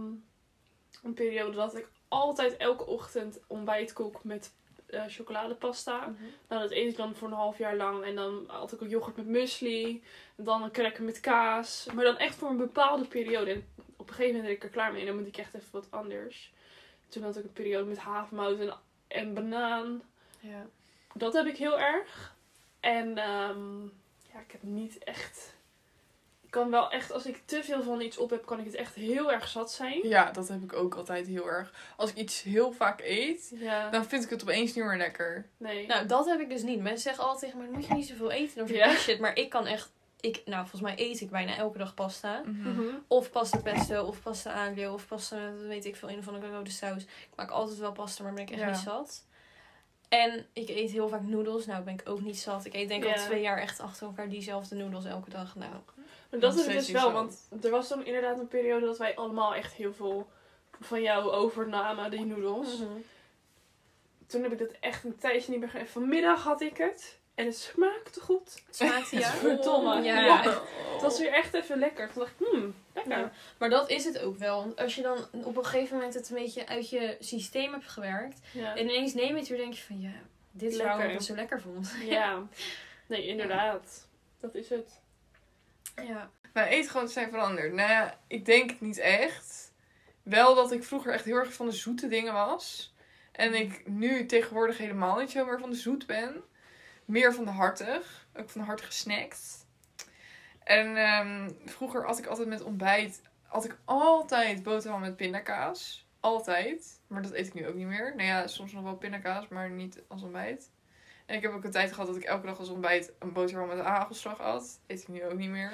een periode dat ik altijd elke ochtend ontbijt kook met eh, chocoladepasta. Nou, dat eet ik dan voor een half jaar lang. En dan had ik ook yoghurt met muesli. En dan een cracker met kaas. Maar dan echt voor een bepaalde periode. En op een gegeven moment ben ik er klaar mee. En dan moet ik echt even wat anders. Toen had ik een periode met havermout en, en banaan. Ja. Dat heb ik heel erg. En ehm, ja, ik heb niet echt... Ik kan wel echt, als ik te veel van iets op heb, kan ik het echt heel erg zat zijn. Ja, dat heb ik ook altijd heel erg. Als ik iets heel vaak eet, Ja, dan vind ik het opeens niet meer lekker. nee. Nou, dat heb ik dus niet. Mensen zeggen altijd tegen mij, moet je niet zoveel eten, dan Ja. verpest je het. Maar ik kan echt, ik, nou volgens mij eet ik bijna elke dag pasta. Mhm. Of pasta pesto, of pasta aglio, of pasta met, weet ik veel, een of andere rode saus. Ik maak altijd wel pasta, maar ben ik echt Ja. niet zat. En ik eet heel vaak noedels. Nou, ben ik ook niet zat. Ik eet denk ik Ja. Mhm. al twee jaar echt achter elkaar diezelfde noedels elke dag. Nou, Maar dat Nog is het steeds dus niet wel, zo. want er was dan inderdaad een periode dat wij allemaal echt heel veel van jou overnamen, Mhm. die noedels. Toen heb ik dat echt een tijdje niet meer gedaan. Vanmiddag had ik het. En het smaakte goed. Het smaakte ja. Verdomme. Ja. Ja. Het was weer echt even lekker. Toen dacht ik, hmm, lekker. Oh. Ja. Maar dat is het ook wel. Want als je dan op een gegeven moment het een beetje uit je systeem hebt gewerkt. Ja. En ineens neem je het weer denk je van ja, dit is Lekker. waarom ik het zo lekker vond. Ja. Nee, inderdaad. Dat is het. Ja. Mijn eetgewoonten Nou, zijn veranderd. Nou ja, ik denk het niet echt. Wel dat ik vroeger echt heel erg van de zoete dingen was. En ik nu tegenwoordig helemaal niet zo meer van de zoet ben. Meer van de hartig. Ook van de hartige snacks. En ehm, vroeger at ik altijd met ontbijt. Had ik altijd boterham met pindakaas. Altijd. Maar dat eet ik nu ook niet meer. Nou ja, soms nog wel pindakaas, maar niet als ontbijt. En ik heb ook een tijd gehad dat ik elke dag als ontbijt een boterham met hagelslag at. Eet ik nu ook niet meer.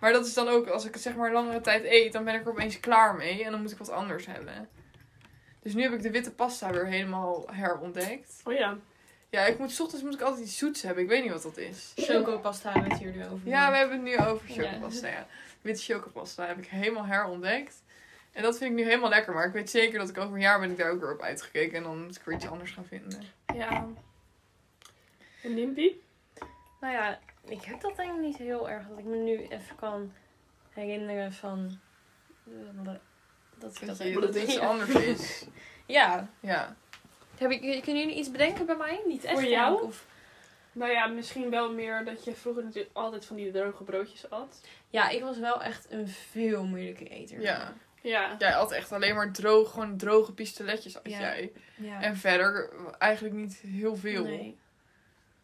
Maar dat is dan ook, als ik het zeg maar langere tijd eet, dan ben ik er opeens klaar mee. En dan moet ik wat anders hebben. Dus nu heb ik de witte pasta weer helemaal herontdekt. Oh ja. Ja, ik moet, 's ochtends moet ik altijd iets zoets hebben. Ik weet niet wat dat is. Chocopasta hebben we het hier nu over. Ja, we hebben het nu over Ja. chocopasta. Ja. Witte chocopasta heb ik helemaal herontdekt. En dat vind ik nu helemaal lekker. Maar ik weet zeker dat ik over een jaar ben ik daar ook weer op uitgekeken. En dan moet ik weer iets anders gaan vinden. Ja. En Limpie? Nou ja, ik heb dat denk ik niet heel erg. Dat ik me nu even kan herinneren van... eh, Dat ik Dat, dat je, heb. dat het iets anders is. Ja. Ja. Heb ik, kunnen jullie iets bedenken bij mij? Niet echt. Voor jou? denk ik, Of... Nou ja, misschien wel meer dat je vroeger natuurlijk altijd van die droge broodjes at. Ja, ik was wel echt een veel moeilijke eter. ja. Ja. Jij had echt alleen maar droog, gewoon droge pistoletjes als Ja. jij. ja. En verder eigenlijk niet heel veel. Nee.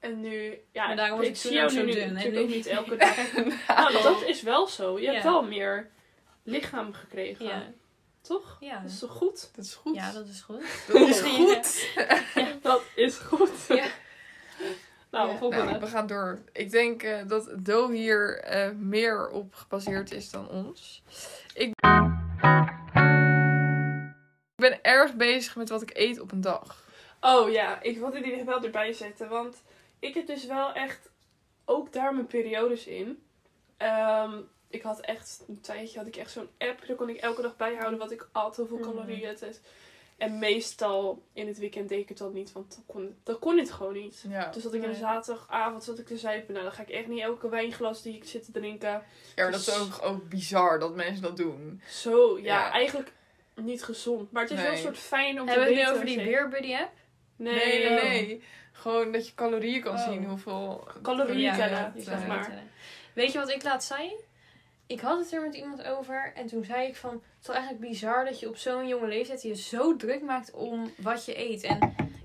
En nu, ja, Maar daarom was ik zie toen jou ook zo nu dun, hè, natuurlijk nu. ook niet elke dag. nou, dat is wel zo. Je hebt Ja. wel meer lichaam gekregen. Ja. Toch? Ja. Dat is toch goed? Dat is goed. ja, dat is goed. Dat is Ja. goed. Dat is goed. Ja. Nou, Ja. volgende. Nou, we gaan door. Ik denk eh, dat Do hier eh, meer op gebaseerd is dan ons. Ik Ik ben erg bezig met wat ik eet op een dag. Oh ja, ik wilde die er wel erbij zetten. Want ik heb dus wel echt ook daar mijn periodes in. Ehm, ik had echt een tijdje had ik echt zo'n app. Daar kon ik elke dag bijhouden wat ik at, hoeveel Mhm. calorieën het is. En meestal in het weekend deed ik het dan niet, want dan kon, dan kon het gewoon niet. Ja, Dus dat ik een Nee. zaterdagavond zat ik te zuipen. Nou, dan ga ik echt niet elke wijnglas die ik zit te drinken. ja maar dat Dus- is ook, ook bizar dat mensen dat doen. Zo, ja, Ja. eigenlijk niet gezond. Maar het is wel een Nee. soort fijn om Hebben we te het nu weten. over die als je- Beer Buddy app? Nee, nee, oh. nee. Gewoon dat je calorieën kan Oh. zien. Hoeveel Calorieën je tellen, hebt, zeg eh, maar. Weet je wat ik laatst zei? Ik had het er met iemand over en toen zei ik van... Het is wel eigenlijk bizar dat je op zo'n jonge leeftijd je zo druk maakt om wat je eet. En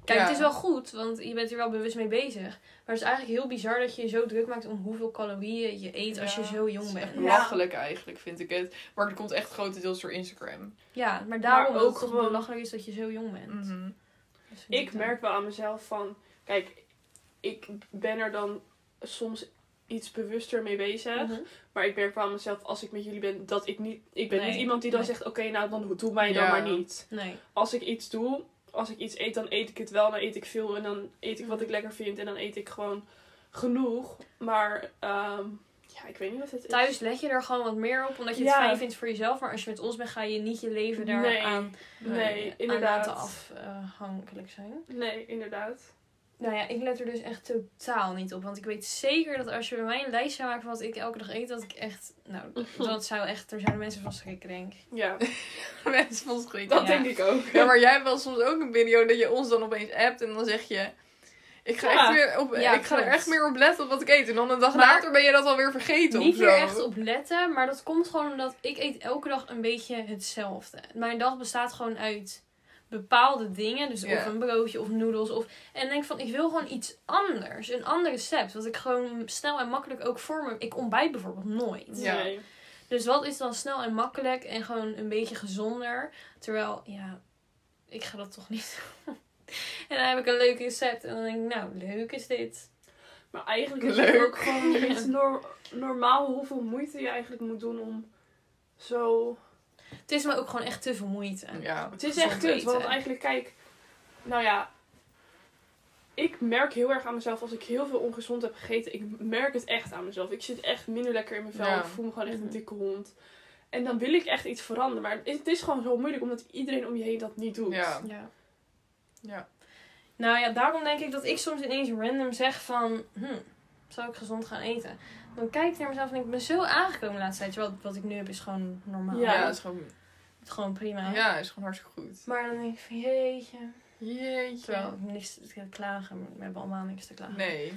kijk, Ja. het is wel goed, want je bent er wel bewust mee bezig. Maar het is eigenlijk heel bizar dat je je zo druk maakt om hoeveel calorieën je eet als je Ja, zo Het jong is echt bent. belachelijk eigenlijk, vind ik het. Maar het komt echt grotendeels door Instagram. Ja, maar daarom Maar ook ook gewoon gewoon- belachelijk is dat je zo jong bent. Mhm. Dat vind Ik dan. merk wel aan mezelf van, kijk, ik ben er dan soms iets bewuster mee bezig. Mhm. Maar ik merk wel aan mezelf, als ik met jullie ben, dat ik niet... Ik ben Nee, niet iemand die dan nee. zegt, oké, nou, dan doe mij dan Ja. maar niet. Nee. Als ik iets doe, als ik iets eet, dan eet ik het wel. Dan eet ik veel en dan eet ik wat Mhm. ik lekker vind. En dan eet ik gewoon genoeg. Maar, ehm, ja, ik weet niet wat het is. Thuis leg je er gewoon wat meer op, omdat je het Ja. fijn vindt voor jezelf. Maar als je met ons bent, ga je niet je leven daar Nee, aan, Nee, aan inderdaad. laten afhankelijk zijn. Nee, inderdaad. Nou ja, ik let er dus echt totaal niet op. Want ik weet zeker dat als je bij mij een lijst zou maken van wat ik elke dag eet, dat ik echt... Nou, dat zou echt... Daar zouden mensen van schrikken, denk ik. Ja, Mensen van schrikken. dat Ja. denk ik ook. Ja, maar jij hebt wel soms ook een periode dat je ons dan opeens appt en dan zeg je... Ik ga, Ja. echt meer op, Ja, ik ga er klopt. echt meer op letten op wat ik eet. En dan een dag Maar- later ben je dat alweer vergeten Niet of zo. meer echt op letten, maar dat komt gewoon omdat ik eet elke dag een beetje hetzelfde. Mijn dag bestaat gewoon uit bepaalde dingen, dus Ja. of een broodje of noedels of en denk van ik wil gewoon iets anders, een ander recept, wat ik gewoon snel en makkelijk ook voor me. Ik ontbijt bijvoorbeeld nooit. Ja. Nee. Dus wat is dan snel en makkelijk en gewoon een beetje gezonder, terwijl ja, ik ga dat toch niet. doen. en dan heb ik een leuk recept en dan denk ik nou, leuk is dit. Maar eigenlijk is het Leuk. ook gewoon niet nor- normaal hoeveel moeite je eigenlijk moet doen om zo... Het is me ook gewoon echt te veel moeite. Ja, Het is echt Gezond kut, want eten. eigenlijk, kijk... Nou ja, ik merk heel erg aan mezelf als ik heel veel ongezond heb gegeten. Ik merk het echt aan mezelf. Ik zit echt minder lekker in mijn vel. Ja. Ik voel me gewoon echt een Mhm. dikke hond. En dan wil ik echt iets veranderen. Maar het is, het is gewoon zo moeilijk omdat iedereen om je heen dat niet doet. Ja. Ja. Ja. Nou ja, daarom denk ik dat ik soms ineens random zeg van... Hm, zou ik gezond gaan eten? Dan kijk ik naar mezelf en denk ik ben zo aangekomen de laatste tijd. Terwijl wat ik nu heb is gewoon normaal. Ja. Ja, is gewoon, Het is gewoon prima. ja, is gewoon hartstikke goed. Maar dan denk ik van jeetje. Jeetje. Terwijl ik heb niks te klagen. maar We hebben allemaal niks te klagen. Nee.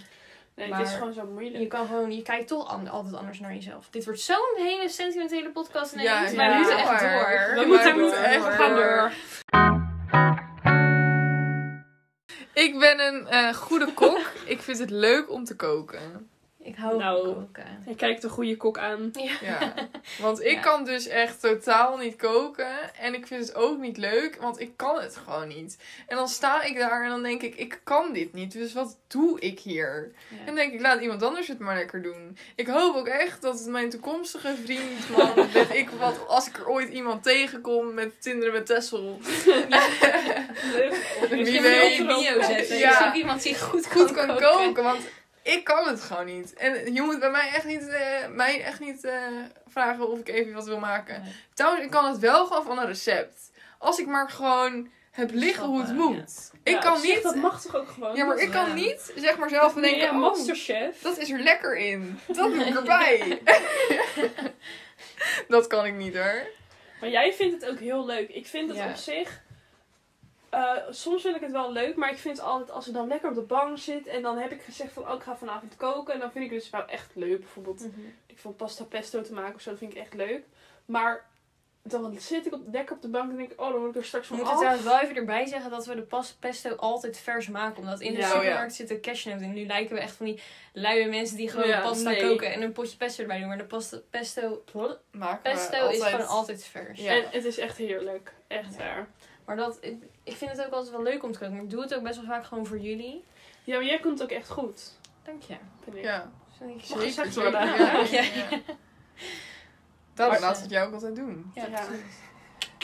Nee, Maar- het is gewoon zo Je moeilijk. kan gewoon, je kijkt toch an- altijd anders naar jezelf. Dit wordt zo'n hele sentimentele podcast ineens. Ja, maar we ja. moeten echt Waar. door. We Ja, moeten maar moeten het echt wordt gaan door. door. Ik ben een eh, goede kok. ik vind het leuk om te koken. Ik hou Nou. van koken. Je kijkt de goede kok aan. Ja. Ja. Want ik Ja. kan dus echt totaal niet koken. En ik vind het ook niet leuk, want ik kan het gewoon niet. En dan sta ik daar en dan denk ik, ik kan dit niet. Dus wat doe ik hier? En dan denk ik, laat iemand anders het maar lekker doen. Ik hoop ook echt dat mijn toekomstige vriend, man, weet ik wat, als ik er ooit iemand tegenkom met Tinder met Tessel, Dus je Wie moet hem weet. op je bio zetten. Ja. Ja. ook iemand die goed, goed kan, kan koken. Want ik kan het gewoon niet. En je moet bij mij echt niet, eh, mij echt niet eh, vragen of ik even wat wil maken. Nee. Trouwens, ik kan het wel gewoon van een recept. Als ik maar gewoon heb liggen hoe het Snappen, moet. Ik kan niet. Dat mag toch ook gewoon? Ja, maar ik kan Ja. niet, zeg maar zelf, nee, ja, denken, oh, masterchef. Dat is er lekker in. Dat doe ik erbij. dat kan ik niet hoor. Maar jij vindt het ook heel leuk. Ik vind het Ja. op zich. eh, soms vind ik het wel leuk, maar ik vind het altijd als ik dan lekker op de bank zit en dan heb ik gezegd van oh, ik ga vanavond koken. En dan vind ik dus wel echt leuk. Bijvoorbeeld, Mhm. ik vond pasta pesto te maken of zo, dat vind ik echt leuk. Maar dan zit ik op, lekker op de bank en denk ik, oh, dan word ik er straks We van moeten af. trouwens wel even erbij zeggen dat we de pas pesto altijd vers maken. Omdat in de Ja, oh ja. supermarkt zitten cashnoten. En nu lijken we echt van die luie mensen die gewoon Ja, pasta nee. koken en een potje pesto erbij doen. Maar de pasta pesto, Maken we pesto is gewoon altijd vers. eh, Ja. En het is echt heerlijk. Echt Ja. waar. Maar dat, ik, ik vind het ook altijd wel leuk om te koken. Maar ik doe het ook best wel vaak gewoon voor jullie. Ja, maar jij kunt het ook echt goed. Dank je. Vind ik. Ja, Dus dan denk ik, Mag zeker. gezegd zeker, worden. ja, ja, Ja. ja. Daarom Maar- laten we het jou ook altijd doen. Ja, Ja. precies.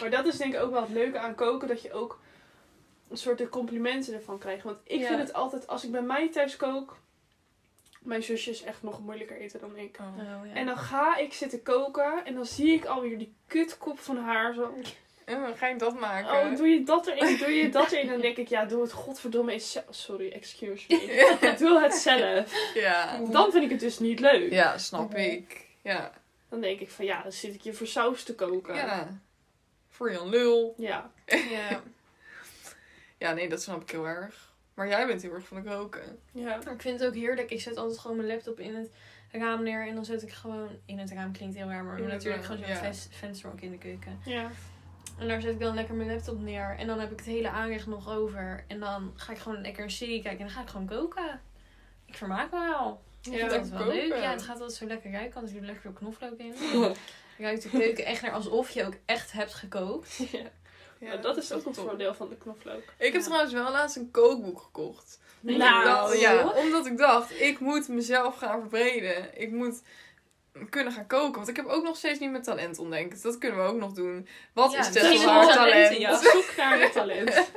Maar dat is denk ik ook wel het leuke aan koken, dat je ook een soort de complimenten ervan krijgt. Want ik Ja. vind het altijd, als ik bij mij thuis kook, mijn zusje is echt nog moeilijker eten dan ik. Oh, ja. En dan ga ik zitten koken en dan zie ik alweer die kutkop van haar zo. En dan ga ik dat maken. Oh, doe je dat erin? Doe je dat erin? En dan denk ik, ja, doe het godverdomme eens zelf. Sorry, excuse me. Doe het zelf. ja. Dan vind ik het dus niet leuk. ja, snap Oké. ik. Ja. Dan denk ik van, ja, dan zit ik hier voor saus te koken. ja. Voor Jan Lul. Ja. ja. Ja, nee, dat snap ik heel erg. Maar jij bent heel erg van het roken. Ja. Maar Ik vind het ook heerlijk. Ik zet altijd gewoon mijn laptop in het raam neer. En dan zet ik gewoon... In het raam klinkt heel raar, maar In het natuurlijk raam, gewoon zo'n ja. ves- venster ook in de keuken. Ja. En daar zet ik dan lekker mijn laptop neer. En dan heb ik het hele aanrecht nog over. En dan ga ik gewoon lekker een serie kijken. En dan ga ik gewoon koken. Ik vermaak me wel. Ik Ja, vind dat wel koken. leuk. Ja, het gaat altijd zo lekker ruiken. Want ik doe lekker veel knoflook in. Ruikt de keuken echt naar alsof je ook echt hebt gekookt. ja. Ja, dat is ook een top. voordeel van de knoflook. Ik heb Ja. trouwens wel laatst een kookboek gekocht. Nou, Dat- ja, omdat ik dacht, ik moet mezelf gaan verbreden. Ik moet kunnen gaan koken. Want ik heb ook nog steeds niet mijn talent ontdekt. Dus Dat kunnen we ook nog doen. Wat Ja, is misschien Tessel is het haar nog talent? talenten, Ja, zoek naar je talent.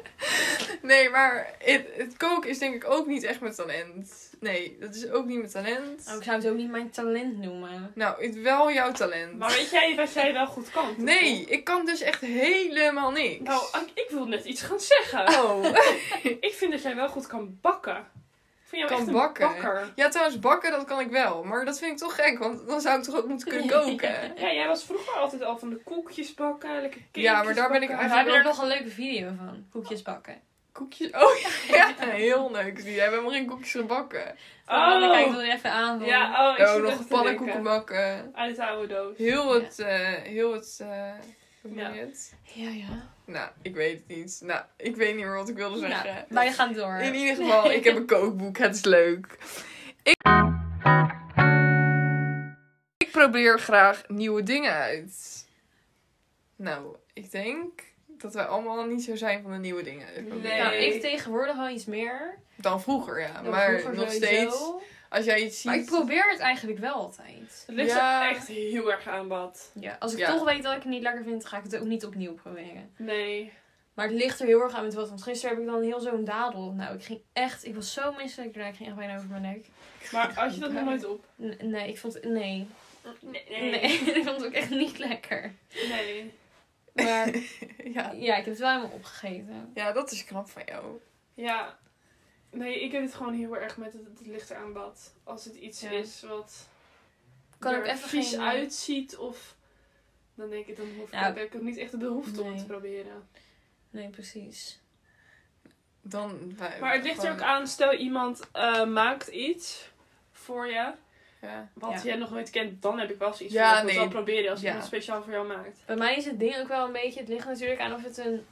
Nee, maar het, het koken is denk ik ook niet echt mijn talent. Nee, dat is ook niet mijn talent. Oh, ik zou het ook niet mijn talent noemen. Nou, het, wel jouw talent. Maar weet jij dat jij wel goed kan? toch? Nee, ik kan dus echt helemaal niks. Nou, ik- ik wil net iets gaan zeggen. oh. Ik vind dat jij wel goed kan bakken. Ik vind jou Kan echt een bakken? bakker. Ja, trouwens, bakken dat kan ik wel. Maar dat vind ik toch gek, want dan zou ik toch ook moeten kunnen koken. Ja, jij was vroeger altijd al van de koekjes bakken, lekker cakejes Ja, maar daar ben ik bakken. We eigenlijk hebben er nog een leuke video van. Koekjes bakken. Koekjes? Oh ja, heel leuk. Die hebben helemaal geen koekjes gebakken. Oh. Dan kijk ik er even aan. van- Ja, oh, ik Oh, zit echt nog te pannenkoeken denken. bakken. Uit de oude doos. Heel het, eh, heel het, eh, hoe noem je Ja. het? Ja, ja. Nou, ik weet het niet. Nou, ik weet niet meer wat ik wilde zeggen. Nou, wij gaan door. eh, In ieder geval, ik heb een kookboek. Het is leuk. Ik... ik probeer graag nieuwe dingen uit. Nou, ik denk dat wij allemaal niet zo zijn van de nieuwe dingen. uitproberen. Nee. Nou, ik tegenwoordig wel iets meer. Dan vroeger, ja. dan maar vroeger nog sowieso. steeds, als jij iets ziet... Maar ik probeer het eigenlijk wel altijd. Het ligt Ja. er echt heel erg aan wat. Ja, als ik Ja. toch weet dat ik het niet lekker vind, ga ik het ook niet opnieuw proberen. Nee. Maar het ligt er heel erg aan met wat. Want gisteren heb ik dan heel zo'n dadel. Nou, ik ging echt... Ik was zo misselijk. daarna, Ik ging echt bijna over mijn nek. Maar als je dat nog nooit op... N- nee, ik vond... Nee. Nee. Nee. ik vond het ook echt niet lekker. Nee. Maar ja. ja, ik heb het wel helemaal opgegeten. ja, dat is knap van jou. Ja. Nee, ik heb het gewoon heel erg met het, het ligt eraan wat. Als het iets Ja. is wat Kan er ook even vies geen- eh, uitziet of... Dan denk ik, dan hoef ik, Nou, dan heb ik ook niet echt de behoefte om nee. het te proberen. Nee, precies. Dan wij- Maar het ligt er ook gewoon- aan, stel iemand eh, maakt iets voor je, Ja. wat Ja. jij nog nooit kent, dan heb ik wel zoiets Ja, van, ik wil het nee. wel proberen als Ja. iemand het speciaal voor jou maakt. Bij mij is het ding ook wel een beetje, het ligt natuurlijk aan of het een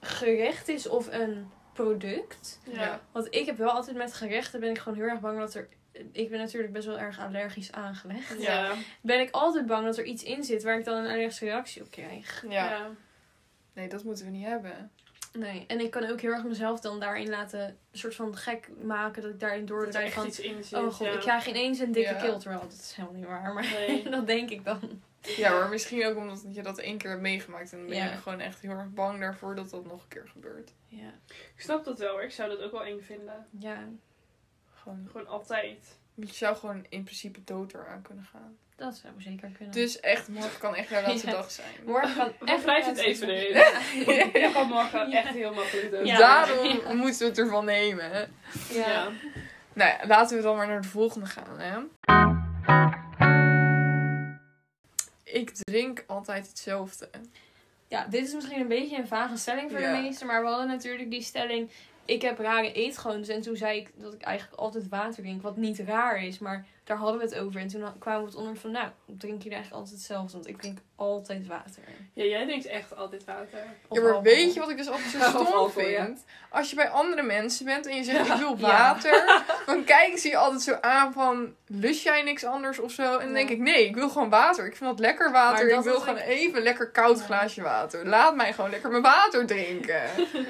gerecht is of een product. Ja. Want ik heb wel altijd met gerechten ben ik gewoon heel erg bang dat er. Ik ben natuurlijk best wel erg allergisch aangelegd. Ja. Ben ik altijd bang dat er iets in zit waar ik dan een allergische reactie op krijg. Ja. Ja. Nee, dat moeten we niet hebben. Nee. En ik kan ook heel erg mezelf dan daarin laten een soort van gek maken dat ik daarin Dat er doordraai echt van. iets in zit. Oh god, ja. ik krijg ineens een dikke Ja. keel. Terwijl dat is helemaal niet waar. Maar Nee. dat denk ik dan. Ja, maar misschien ook omdat je dat één keer hebt meegemaakt. En dan ben je Ja. gewoon echt heel erg bang daarvoor dat dat nog een keer gebeurt. Ja. Ik snap dat wel, hoor. ik zou dat ook wel eng vinden. Ja. Gewoon, Gewoon altijd. je zou gewoon in principe dood eraan kunnen gaan. Dat zou zeker kunnen. Dus echt, morgen kan echt jouw laatste Ja. dag zijn. morgen kan En echt wrijf het laatste even zijn. erin. Ik kan morgen echt heel makkelijk doen. Ja. Daarom moeten we het ervan nemen. hè. Ja. Ja. Nou ja, laten we dan maar naar de volgende gaan. Hè? Ik drink altijd hetzelfde. Ja, dit is misschien een beetje een vage stelling voor Ja. de meesten, maar we hadden natuurlijk die stelling. Ik heb rare eetgewoontes en toen zei ik dat ik eigenlijk altijd water drink, wat niet raar is, maar daar hadden we het over. En toen ha- kwamen we op het onderwerp van, nou, drink jullie eigenlijk altijd hetzelfde, want ik drink altijd water. ja, jij drinkt echt altijd water. Of ja, maar alcohol. weet je wat ik dus altijd zo Of stom alcohol, ja. vind? Als je bij andere mensen bent en je zegt ik wil Ja. water, dan kijken ze je altijd zo aan van lust jij niks anders of zo? En dan denk Ja. ik nee, ik wil gewoon water. Ik vind dat lekker water. Maar dat ik wil is gewoon ook- even lekker koud Ja. glaasje water. Laat mij gewoon lekker mijn water drinken.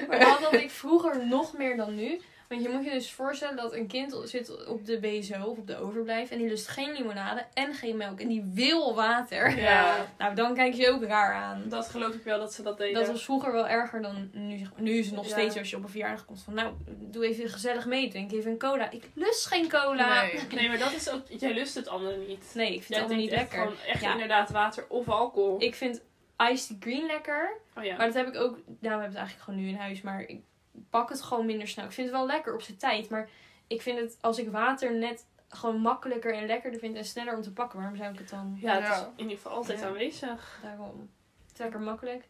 Maar dat had ik vroeger nog meer dan nu. Want je moet je dus voorstellen dat een kind zit op de BSO of op de overblijf en die lust geen limonade en geen melk en die wil water. Ja. Nou, dan kijk je ook raar aan. Dat geloof ik wel dat ze dat deden. Dat was vroeger wel erger dan nu. zeg maar. Nu is het nog Ja. steeds als je op een verjaardag komt van... Nou, doe even gezellig mee. Drink even een cola. Ik lust geen cola. Nee. Nee, maar dat is ook... Jij lust het andere niet. Nee, ik vind Jij het allemaal drinkt niet echt lekker. gewoon echt Ja. inderdaad water of alcohol. Ik vind iced tea green lekker. oh ja. Maar dat heb ik ook... Nou, we hebben het eigenlijk gewoon nu in huis. Maar ik pak het gewoon minder snel. Ik vind het wel lekker op zijn tijd. Maar ik vind het als ik water net gewoon makkelijker en lekkerder vind. En sneller om te pakken. Waarom zou ik het dan ja, het is Ja. in ieder geval altijd Ja. aanwezig. daarom... Het is lekker makkelijk.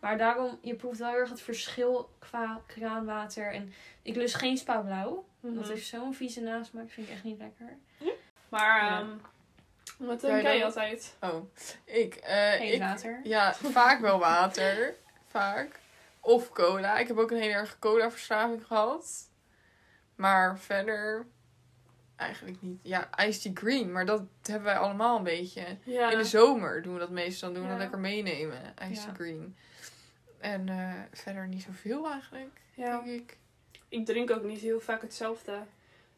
Maar daarom, je proeft wel heel erg het verschil qua kraanwater. En ik lust geen spa blauw. Dat Mhm. heeft zo'n vieze nasmaak, vind ik echt niet lekker. Maar, Ja. ehm wat Jij drink jij dan? altijd? Oh, ik, eh, Geen ik water. Ja, vaak wel water. Vaak. Of cola. Ik heb ook een hele erg cola-verslaving gehad. Maar verder eigenlijk niet. Ja, iced tea green. Maar dat hebben wij allemaal een beetje. Ja. In de zomer doen we dat meestal. Dan doen we Ja. dat lekker meenemen. Iced Ja. tea green. En eh, verder niet zoveel eigenlijk, ja. denk ik. Ik drink ook niet heel vaak hetzelfde.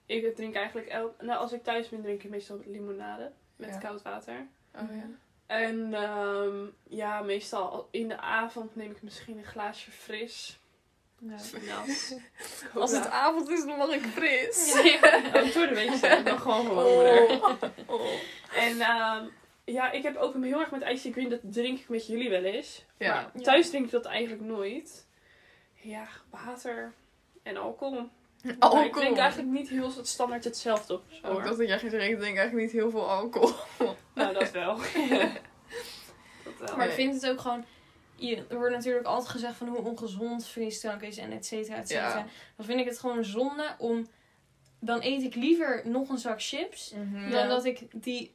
Ik drink eigenlijk elk... Nou, als ik thuis ben, drink ik meestal limonade met Ja. koud water. Oh ja. En ehm, ja, meestal in de avond neem ik misschien een glaasje fris. Ja. Nat. Mhm. Als het avond is, dan mag ik fris. Oh, door de week zijn we dan gewoon gewoon. Oh. Oh. En ehm, ja, ik heb ook heel erg met iced tea green. Dat drink ik met jullie wel eens. Ja. Maar thuis drink ik dat eigenlijk nooit. Ja, water en alcohol. Maar ik Alcohol. drink eigenlijk niet heel standaard hetzelfde op. Oh, ik dacht dat jij geen drinkt. Ik drink eigenlijk niet heel veel alcohol. Nou, dat wel. dat wel. Maar ik vind het ook gewoon... Je, er wordt natuurlijk altijd gezegd van hoe ongezond frisdrank is en et cetera, et cetera. Ja. Dan vind ik het gewoon zonde om... Dan eet ik liever nog een zak chips Ja. dan dat ik die...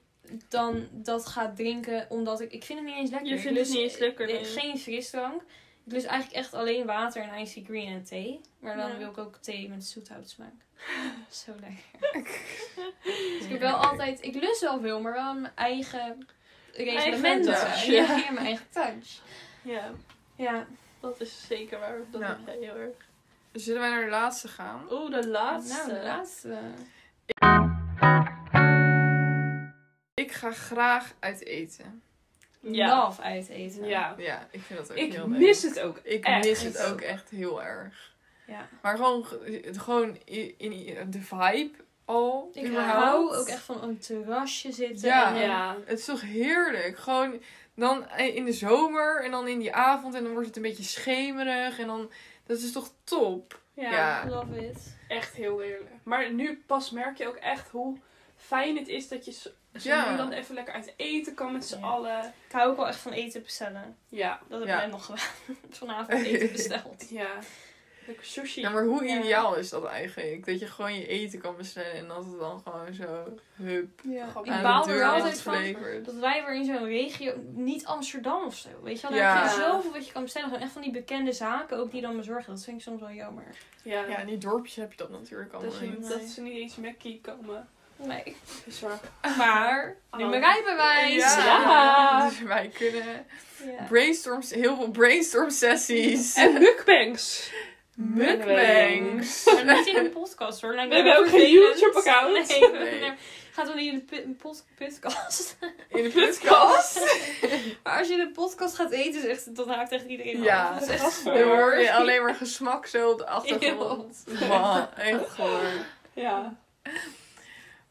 Dan dat ga drinken, omdat ik... Ik vind het niet eens lekker. Je Ik vindt het lust- niet eens lekker, eh, nee. Geen frisdrank. Ik lust eigenlijk echt alleen water en iced tea green en thee. Maar dan Ja. wil ik ook thee met zoethoutsmaak. Zo lekker. Dus ik heb wel altijd, ik lust wel veel, maar wel aan mijn eigen reglementen. touch, Ja, ja. in mijn eigen touch. Nou, Ja, Ja, dat is zeker waar. Dat Nou. heb jij heel erg. Zullen wij naar de laatste gaan? Oeh, de laatste. nou, de laatste. Ik ga graag uit eten. Ja. Love uit eten. Ja. Ja, ik vind dat ook Ik heel leuk. mis het ook. Ik echt. mis het ook echt heel erg. Ja. Maar gewoon, gewoon in, in- de vibe al. Ik überhaupt. hou ook echt van op een terrasje zitten. Ja. en, eh, Ja. Het is toch heerlijk? Gewoon dan in de zomer en dan in die avond en dan wordt het een beetje schemerig. En dan Dat is toch top? Ja, Ja. Love it. echt heel eerlijk. Maar nu pas merk je ook echt hoe fijn het is dat je zo zo Ja. nu dan even lekker uit eten kan met z'n Ja. allen. Ik hou ook wel echt van eten bestellen. Ja, Dat heb Ja. ik net nog gedaan. Vanavond eten besteld. ja. Lekker sushi. Ja, maar hoe Ja. ideaal is dat eigenlijk? Dat je gewoon je eten kan bestellen en dat het dan gewoon zo hup Ja. Gewoon Ik aan de baal deur er altijd wordt van geleverd. dat wij weer in zo'n regio, niet Amsterdam of zo, weet je wel. Ja. Daar heb je zoveel wat je kan bestellen. Gewoon echt van die bekende zaken ook die dan bezorgen. Dat vind ik soms wel jammer. Ja, Ja, in die dorpjes heb je dat natuurlijk allemaal dat, je, niet. dat ze niet eens Mackie komen. Nee. Zorg. Maar, nu Oh. mijn rijbewijs. Ja. Ja. Dus wij kunnen Ja. brainstorms, heel veel brainstorm sessies. En mukbangs. Mukbangs. Maar niet in een podcast hoor. Lijkt We me hebben ook geen vervelend. YouTube-account. Nee, we- Nee. nee. Gaat wel niet in de pu- een pod- podcast. In de podcast. Maar als je de podcast gaat eten, is echt, dan haakt echt iedereen Ja. af. Dat is echt Gast, Dan hoor. hoor je alleen maar gesmak zo op de achtergrond. Man, echt gewoon. Ja.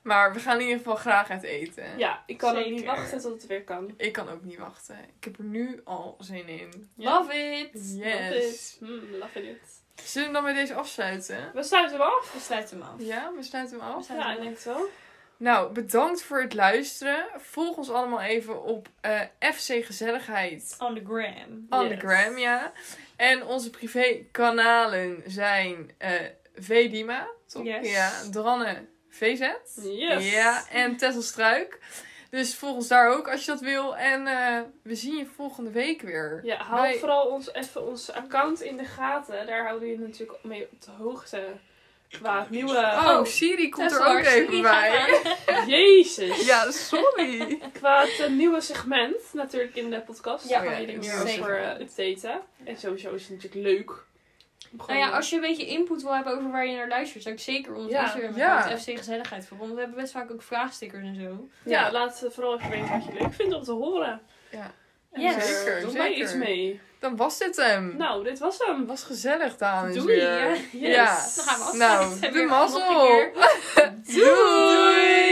Maar we gaan in ieder geval graag uit eten. ja, ik kan ook niet Zeker. wachten tot het weer kan. Ik kan ook niet wachten. Ik heb er nu al zin in. Love it. Yes. Mm, love it. Zullen we dan bij deze afsluiten? We sluiten hem af. We sluiten hem af. Ja, we sluiten hem We af. sluiten Ja, hem ik af. denk het wel. Nou, bedankt voor het luisteren. Volg ons allemaal even op eh, FC Gezelligheid On the gram. on Yes. the gram, ja. En onze privékanalen zijn eh VDima, toch? Yes. Ja, Dranne VZ. Yes. Ja, en Tessel Struik. Dus volg ons daar ook als je dat wil. En eh, we zien je volgende week weer. Ja, hou Wij- vooral ons, even ons account in de gaten. Daar houden jullie natuurlijk mee op de hoogte. Qua nieuwe... Oh, Oh, Siri komt Tessel, er ook Siri even gaat bij. Jezus. Ja, sorry. Qua het eh, nieuwe segment natuurlijk in de podcast. Ja, daar Oh gaan ja, we jullie het meer nieuwe over segment. eh, updaten. En sowieso is het natuurlijk leuk. om Nou gewoon- ja, als je een beetje input wil hebben over waar je naar luistert, zou ik zeker ons Ja. Instagram Ja. account FC Gezelligheid voor. Want we hebben best vaak ook vraagstickers en zo. Ja, Ja. laat eh, vooral even weten wat je leuk vindt om te horen. Ja. En, Yes. eh, Zeker, Doe mij zeker. Hm. iets mee. Dan was dit hem. Nou, dit was hem. was gezellig, dames. Doei, weer. ja. Yes. Ja. Dan gaan we afsluiten. Nou, Weer de een mazzel. knopje keer. Doei.